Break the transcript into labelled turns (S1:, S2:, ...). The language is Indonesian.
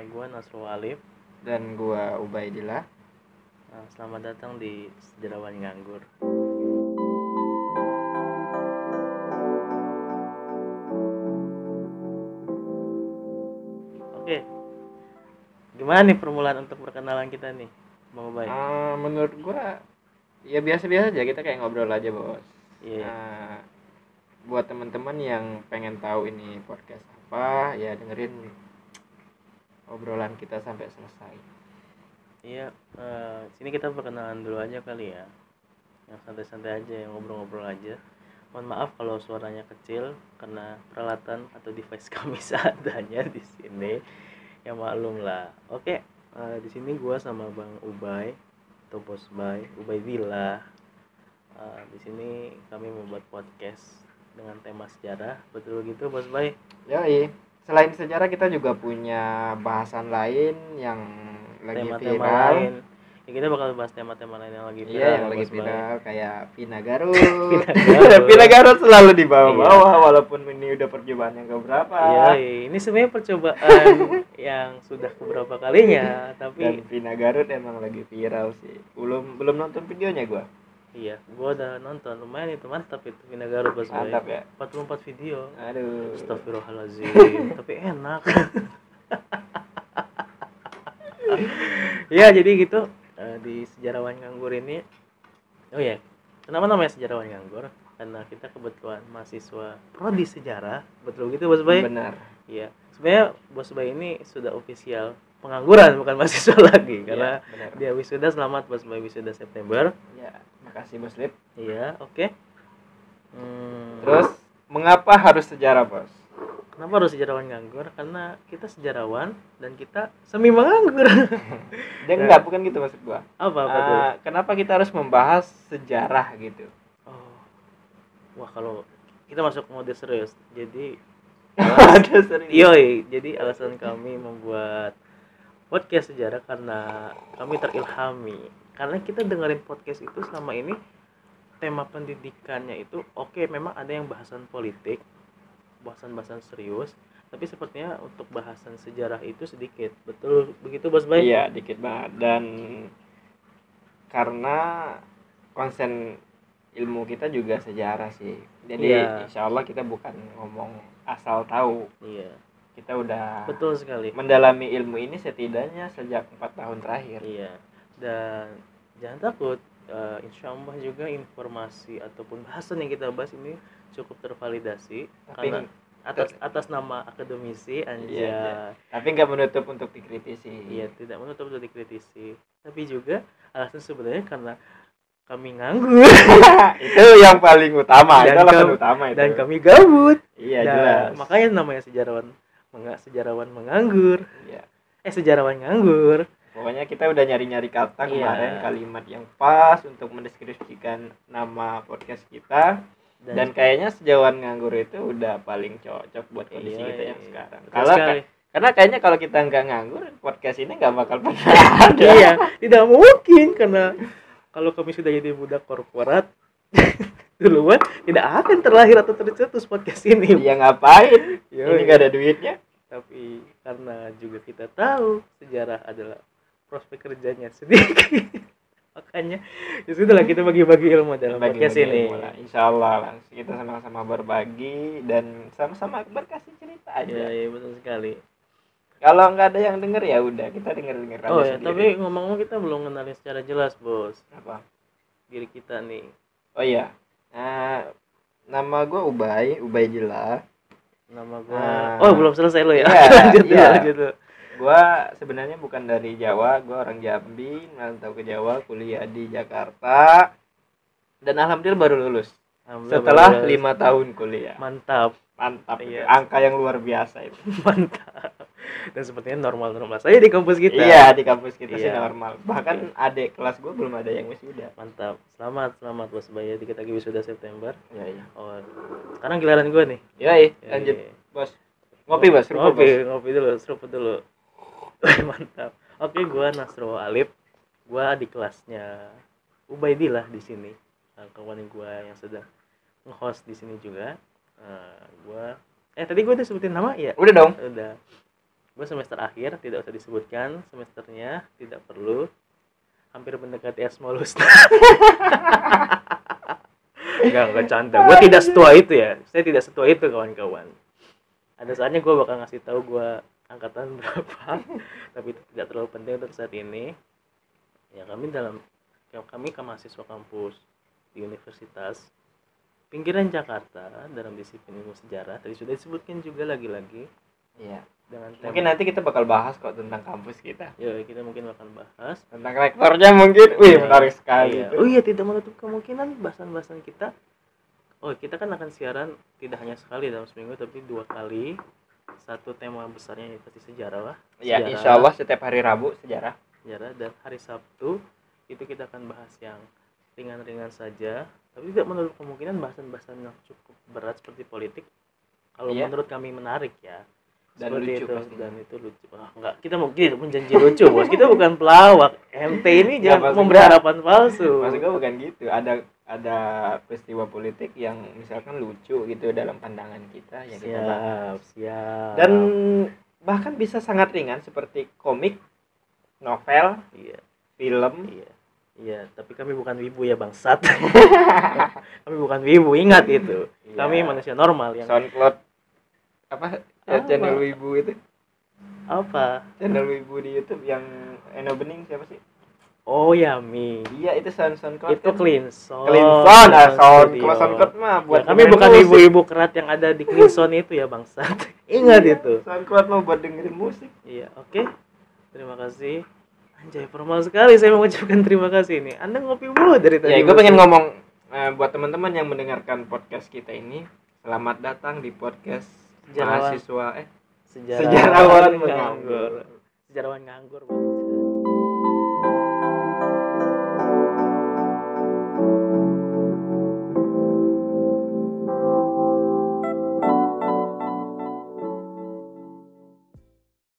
S1: gue Nasrul Alif.
S2: dan gua Ubaidillah.
S1: Nah, selamat datang di Sejarawan Nganggur. Oke. Gimana nih permulaan untuk perkenalan kita nih, Bang Ubay?
S2: Eh, menurut gua ya biasa-biasa aja kita kayak ngobrol aja bos.
S1: Iya.
S2: Eh, buat teman-teman yang pengen tahu ini podcast apa ya dengerin obrolan kita sampai selesai.
S1: Iya, eh, sini kita perkenalan dulu aja kali ya. Yang santai-santai aja, yang ngobrol-ngobrol aja. Mohon maaf kalau suaranya kecil karena peralatan atau device kami seadanya di sini. Ya maklum lah. Oke, eh, di sini gua sama Bang Ubay atau Bos Bay, Ubay Villa. Eh, di sini kami membuat podcast dengan tema sejarah. Betul gitu, Bos Bay?
S2: Yoi. Selain sejarah kita juga punya bahasan lain yang lagi
S1: Tema-tema
S2: viral.
S1: lain. Ya, kita bakal bahas tema-tema lain yang lagi viral.
S2: Iya yang
S1: ya,
S2: lagi
S1: Bos Bay.
S2: viral kayak Pina Garut.
S1: Garut.
S2: Pina Garut selalu di bawah-bawah walaupun ini udah percobaan yang keberapa.
S1: Iya, ini sebenarnya percobaan yang sudah beberapa kalinya,
S2: Dan
S1: tapi
S2: Pina Garut emang lagi viral sih. Belum belum nonton videonya gua.
S1: iya, gua udah nonton lumayan itu mantap itu Vina Garut Bos Boy.
S2: Mantap ya.
S1: 44 video.
S2: Aduh.
S1: Astagfirullahalazim, tapi enak. ya, jadi gitu eh, di sejarawan nganggur ini. Oh ya, kenapa namanya sejarawan nganggur? Karena kita kebetulan mahasiswa prodi sejarah, betul gitu Bos Boy?
S2: Benar.
S1: Iya, sebenarnya Bos Bay ini sudah official pengangguran bukan mahasiswa lagi karena
S2: Iya, benar.
S1: dia wisuda selamat Bos Bay wisuda September.
S2: Ya, makasih Bos Lip.
S1: Iya, oke. Hmm,
S2: Terus mengapa harus sejarah, Bos?
S1: kenapa harus sejarawan nganggur? Karena kita sejarawan dan kita semi menganggur.
S2: Dia enggak bukan gitu maksud gua.
S1: apa Nah. apa tuh?
S2: Ah, kenapa kita harus membahas sejarah gitu?
S1: Oh. Wah, kalau kita masuk mode serius. Jadi Oh.
S2: Ada serius.
S1: Yoi, jadi alasan kami membuat podcast sejarah karena kami terilhami. Karena kita dengerin podcast itu selama ini tema pendidikannya itu oke memang ada yang bahasan politik, bahasan-bahasan serius, tapi sepertinya untuk bahasan sejarah itu sedikit. Betul begitu Bos Bay?
S2: Iya, dikit banget dan karena konsen ilmu kita juga sejarah sih. Jadi
S1: Iya.
S2: insya Allah kita bukan ngomong asal tahu.
S1: Iya,
S2: Kita udah
S1: betul sekali.
S2: mendalami ilmu ini setidaknya sejak empat tahun terakhir.
S1: Iya. Dan jangan takut, eh, insya Allah juga informasi ataupun bahasan yang kita bahas ini cukup tervalidasi
S2: Tapi
S1: karena atas atas nama akademisi anjay
S2: Iya, tapi nggak menutup untuk dikritisi.
S1: iya tidak menutup untuk dikritisi tapi juga alasan sebenarnya karena kami nganggur
S2: Iya, itu yang paling utama.
S1: Dan
S2: itu alasan
S1: kamu-
S2: utama itu.
S1: dan kami gabut
S2: iya
S1: Nah,
S2: jelas.
S1: makanya namanya sejarawan menga, sejarawan menganggur
S2: Iya.
S1: eh sejarawan nganggur
S2: Pokoknya kita udah nyari-nyari
S1: Iya.
S2: kata kemarin kalimat yang pas untuk mendeskripsikan nama podcast kita. dan kayaknya sejauhan nganggur itu udah paling cocok buat kondisi
S1: Iya,
S2: kita
S1: iya,
S2: yang
S1: iya.
S2: sekarang
S1: Betul
S2: kalau
S1: sekali.
S2: karena kayaknya kalau kita nggak nganggur podcast ini nggak bakal pernah ada
S1: iya tidak mungkin karena kalau kami sudah jadi budak korporat duluan tidak akan terlahir atau tercetus podcast ini
S2: dia Ya ngapain ini
S1: Iya. Yoi.
S2: nggak ada duitnya
S1: tapi karena juga kita tahu sejarah adalah prospek kerjanya sedikit makanya ya sudah lah kita bagi-bagi ilmu dalam podcast
S2: Bagi-bagi
S1: ini
S2: ilmu lah. Insya Allah langsung Nah, kita sama-sama berbagi dan sama-sama berkasih cerita
S1: ya,
S2: aja
S1: ya betul sekali
S2: kalau nggak ada yang denger ya udah kita denger denger aja
S1: oh ya
S2: sendiri.
S1: tapi ngomong-ngomong kita belum kenalin secara jelas bos
S2: apa
S1: diri kita nih
S2: oh iya Nah, nama gue Ubay Ubay Jila
S1: nama gua
S2: Ah.
S1: oh belum selesai lo ya
S2: Iya,
S1: lanjut dulu,
S2: iya.
S1: lanjut ya. dulu.
S2: gua sebenarnya bukan dari Jawa gua orang Jambi merantau ke Jawa kuliah di Jakarta dan alhamdulillah baru lulus
S1: Alhamdulillah,
S2: setelah
S1: bagus.
S2: lima tahun kuliah
S1: mantap
S2: mantap
S1: Iya.
S2: itu, angka yang luar biasa itu
S1: mantap dan sepertinya normal-normal saja di kampus kita
S2: iya di kampus kita sih
S1: Iya.
S2: normal bahkan adik kelas gua belum ada yang wisuda
S1: mantap selamat selamat bos Bayu dikit lagi wisuda September
S2: ya iya
S1: oh sekarang giliran gue nih
S2: Yoi, Iya, lanjut bos ngopi bos seruput,
S1: Iya, ngopi
S2: bos.
S1: ngopi dulu seruput dulu mantap oke gua Nasro Alif gua di kelasnya Ubaidillah di sini Nah, kawan gua yang sedang nge-host di sini juga Eh, gua eh tadi gua udah sebutin nama ya
S2: udah dong
S1: udah gue gue semester akhir tidak usah disebutkan semesternya tidak perlu hampir mendekati Asmolus Enggak, enggak canda. Gue tidak setua itu ya. Saya tidak setua itu kawan-kawan. Ada saatnya gue bakal ngasih tahu gue angkatan berapa, tapi itu tidak terlalu penting untuk saat ini. Ya kami dalam ya, kami ke mahasiswa kampus di universitas pinggiran Jakarta dalam disiplin ilmu sejarah tadi sudah disebutkan juga lagi-lagi
S2: Iya.
S1: dengan tema
S2: Mungkin nanti kita bakal bahas kok tentang kampus kita.
S1: ya kita mungkin akan bahas
S2: Tentang rektornya mungkin. Wih,
S1: Iya.
S2: menarik sekali.
S1: Iya.
S2: itu.
S1: Oh iya tidak menutup kemungkinan bahasan-bahasan kita. Oh kita kan akan siaran tidak hanya sekali dalam seminggu tapi dua kali. Satu tema besarnya ini pasti sejarah lah.
S2: Ya,
S1: Sejarah.
S2: insya Allah setiap hari Rabu sejarah.
S1: Sejarah Ya, dan hari Sabtu itu kita akan bahas yang ringan-ringan saja. Tapi tidak menutup kemungkinan bahasan-bahasan yang cukup berat seperti politik. Kalau
S2: Iya.
S1: menurut kami menarik ya.
S2: Dan
S1: Seperti
S2: lucu
S1: itu,
S2: pastinya.
S1: dan itu lucu. Ah, enggak, kita mungkin menjanji lucu, Bos. Kita bukan pelawak. MT ini
S2: Ya,
S1: jangan
S2: maksud
S1: memberi
S2: gua-
S1: harapan palsu. Iya,
S2: Maksud gue bukan gitu. Ada ada peristiwa politik yang misalkan lucu gitu dalam pandangan kita ya
S1: Iya.
S2: kita bahas.
S1: siap siap
S2: Dan bahkan bisa sangat ringan seperti komik, novel,
S1: iya
S2: film.
S1: iya iya tapi kami bukan wibu ya bangsat kami bukan wibu ingat itu kami
S2: Iya.
S1: manusia normal yang
S2: SoundCloud apa ya,
S1: Apa?
S2: channel Wibu itu
S1: apa
S2: channel Wibu di YouTube yang Eno Bening siapa sih
S1: oh ya mi
S2: iya itu sound SoundCloud
S1: itu
S2: kan?
S1: Clinson
S2: Clinson ah sound
S1: Studio.
S2: kalau SoundCloud mah
S1: Ya,
S2: buat
S1: kami
S2: dengerin
S1: bukan
S2: musik.
S1: ibu-ibu kerat yang ada di Clinson itu ya bangsat ingat
S2: Iya,
S1: itu
S2: SoundCloud mah buat dengerin musik
S1: Iya, oke. Terima kasih. Anjay, formal sekali saya mengucapkan terima kasih ini. Anda ngopi mulu dari tadi.
S2: ya gue
S1: Bos.
S2: pengen ngomong eh, buat teman-teman yang mendengarkan podcast kita ini selamat datang di podcast
S1: Sejarawan.
S2: mahasiswa eh
S1: sejarawan,
S2: sejarawan
S1: menganggur.
S2: menganggur
S1: Sejarawan nganggur, Bos.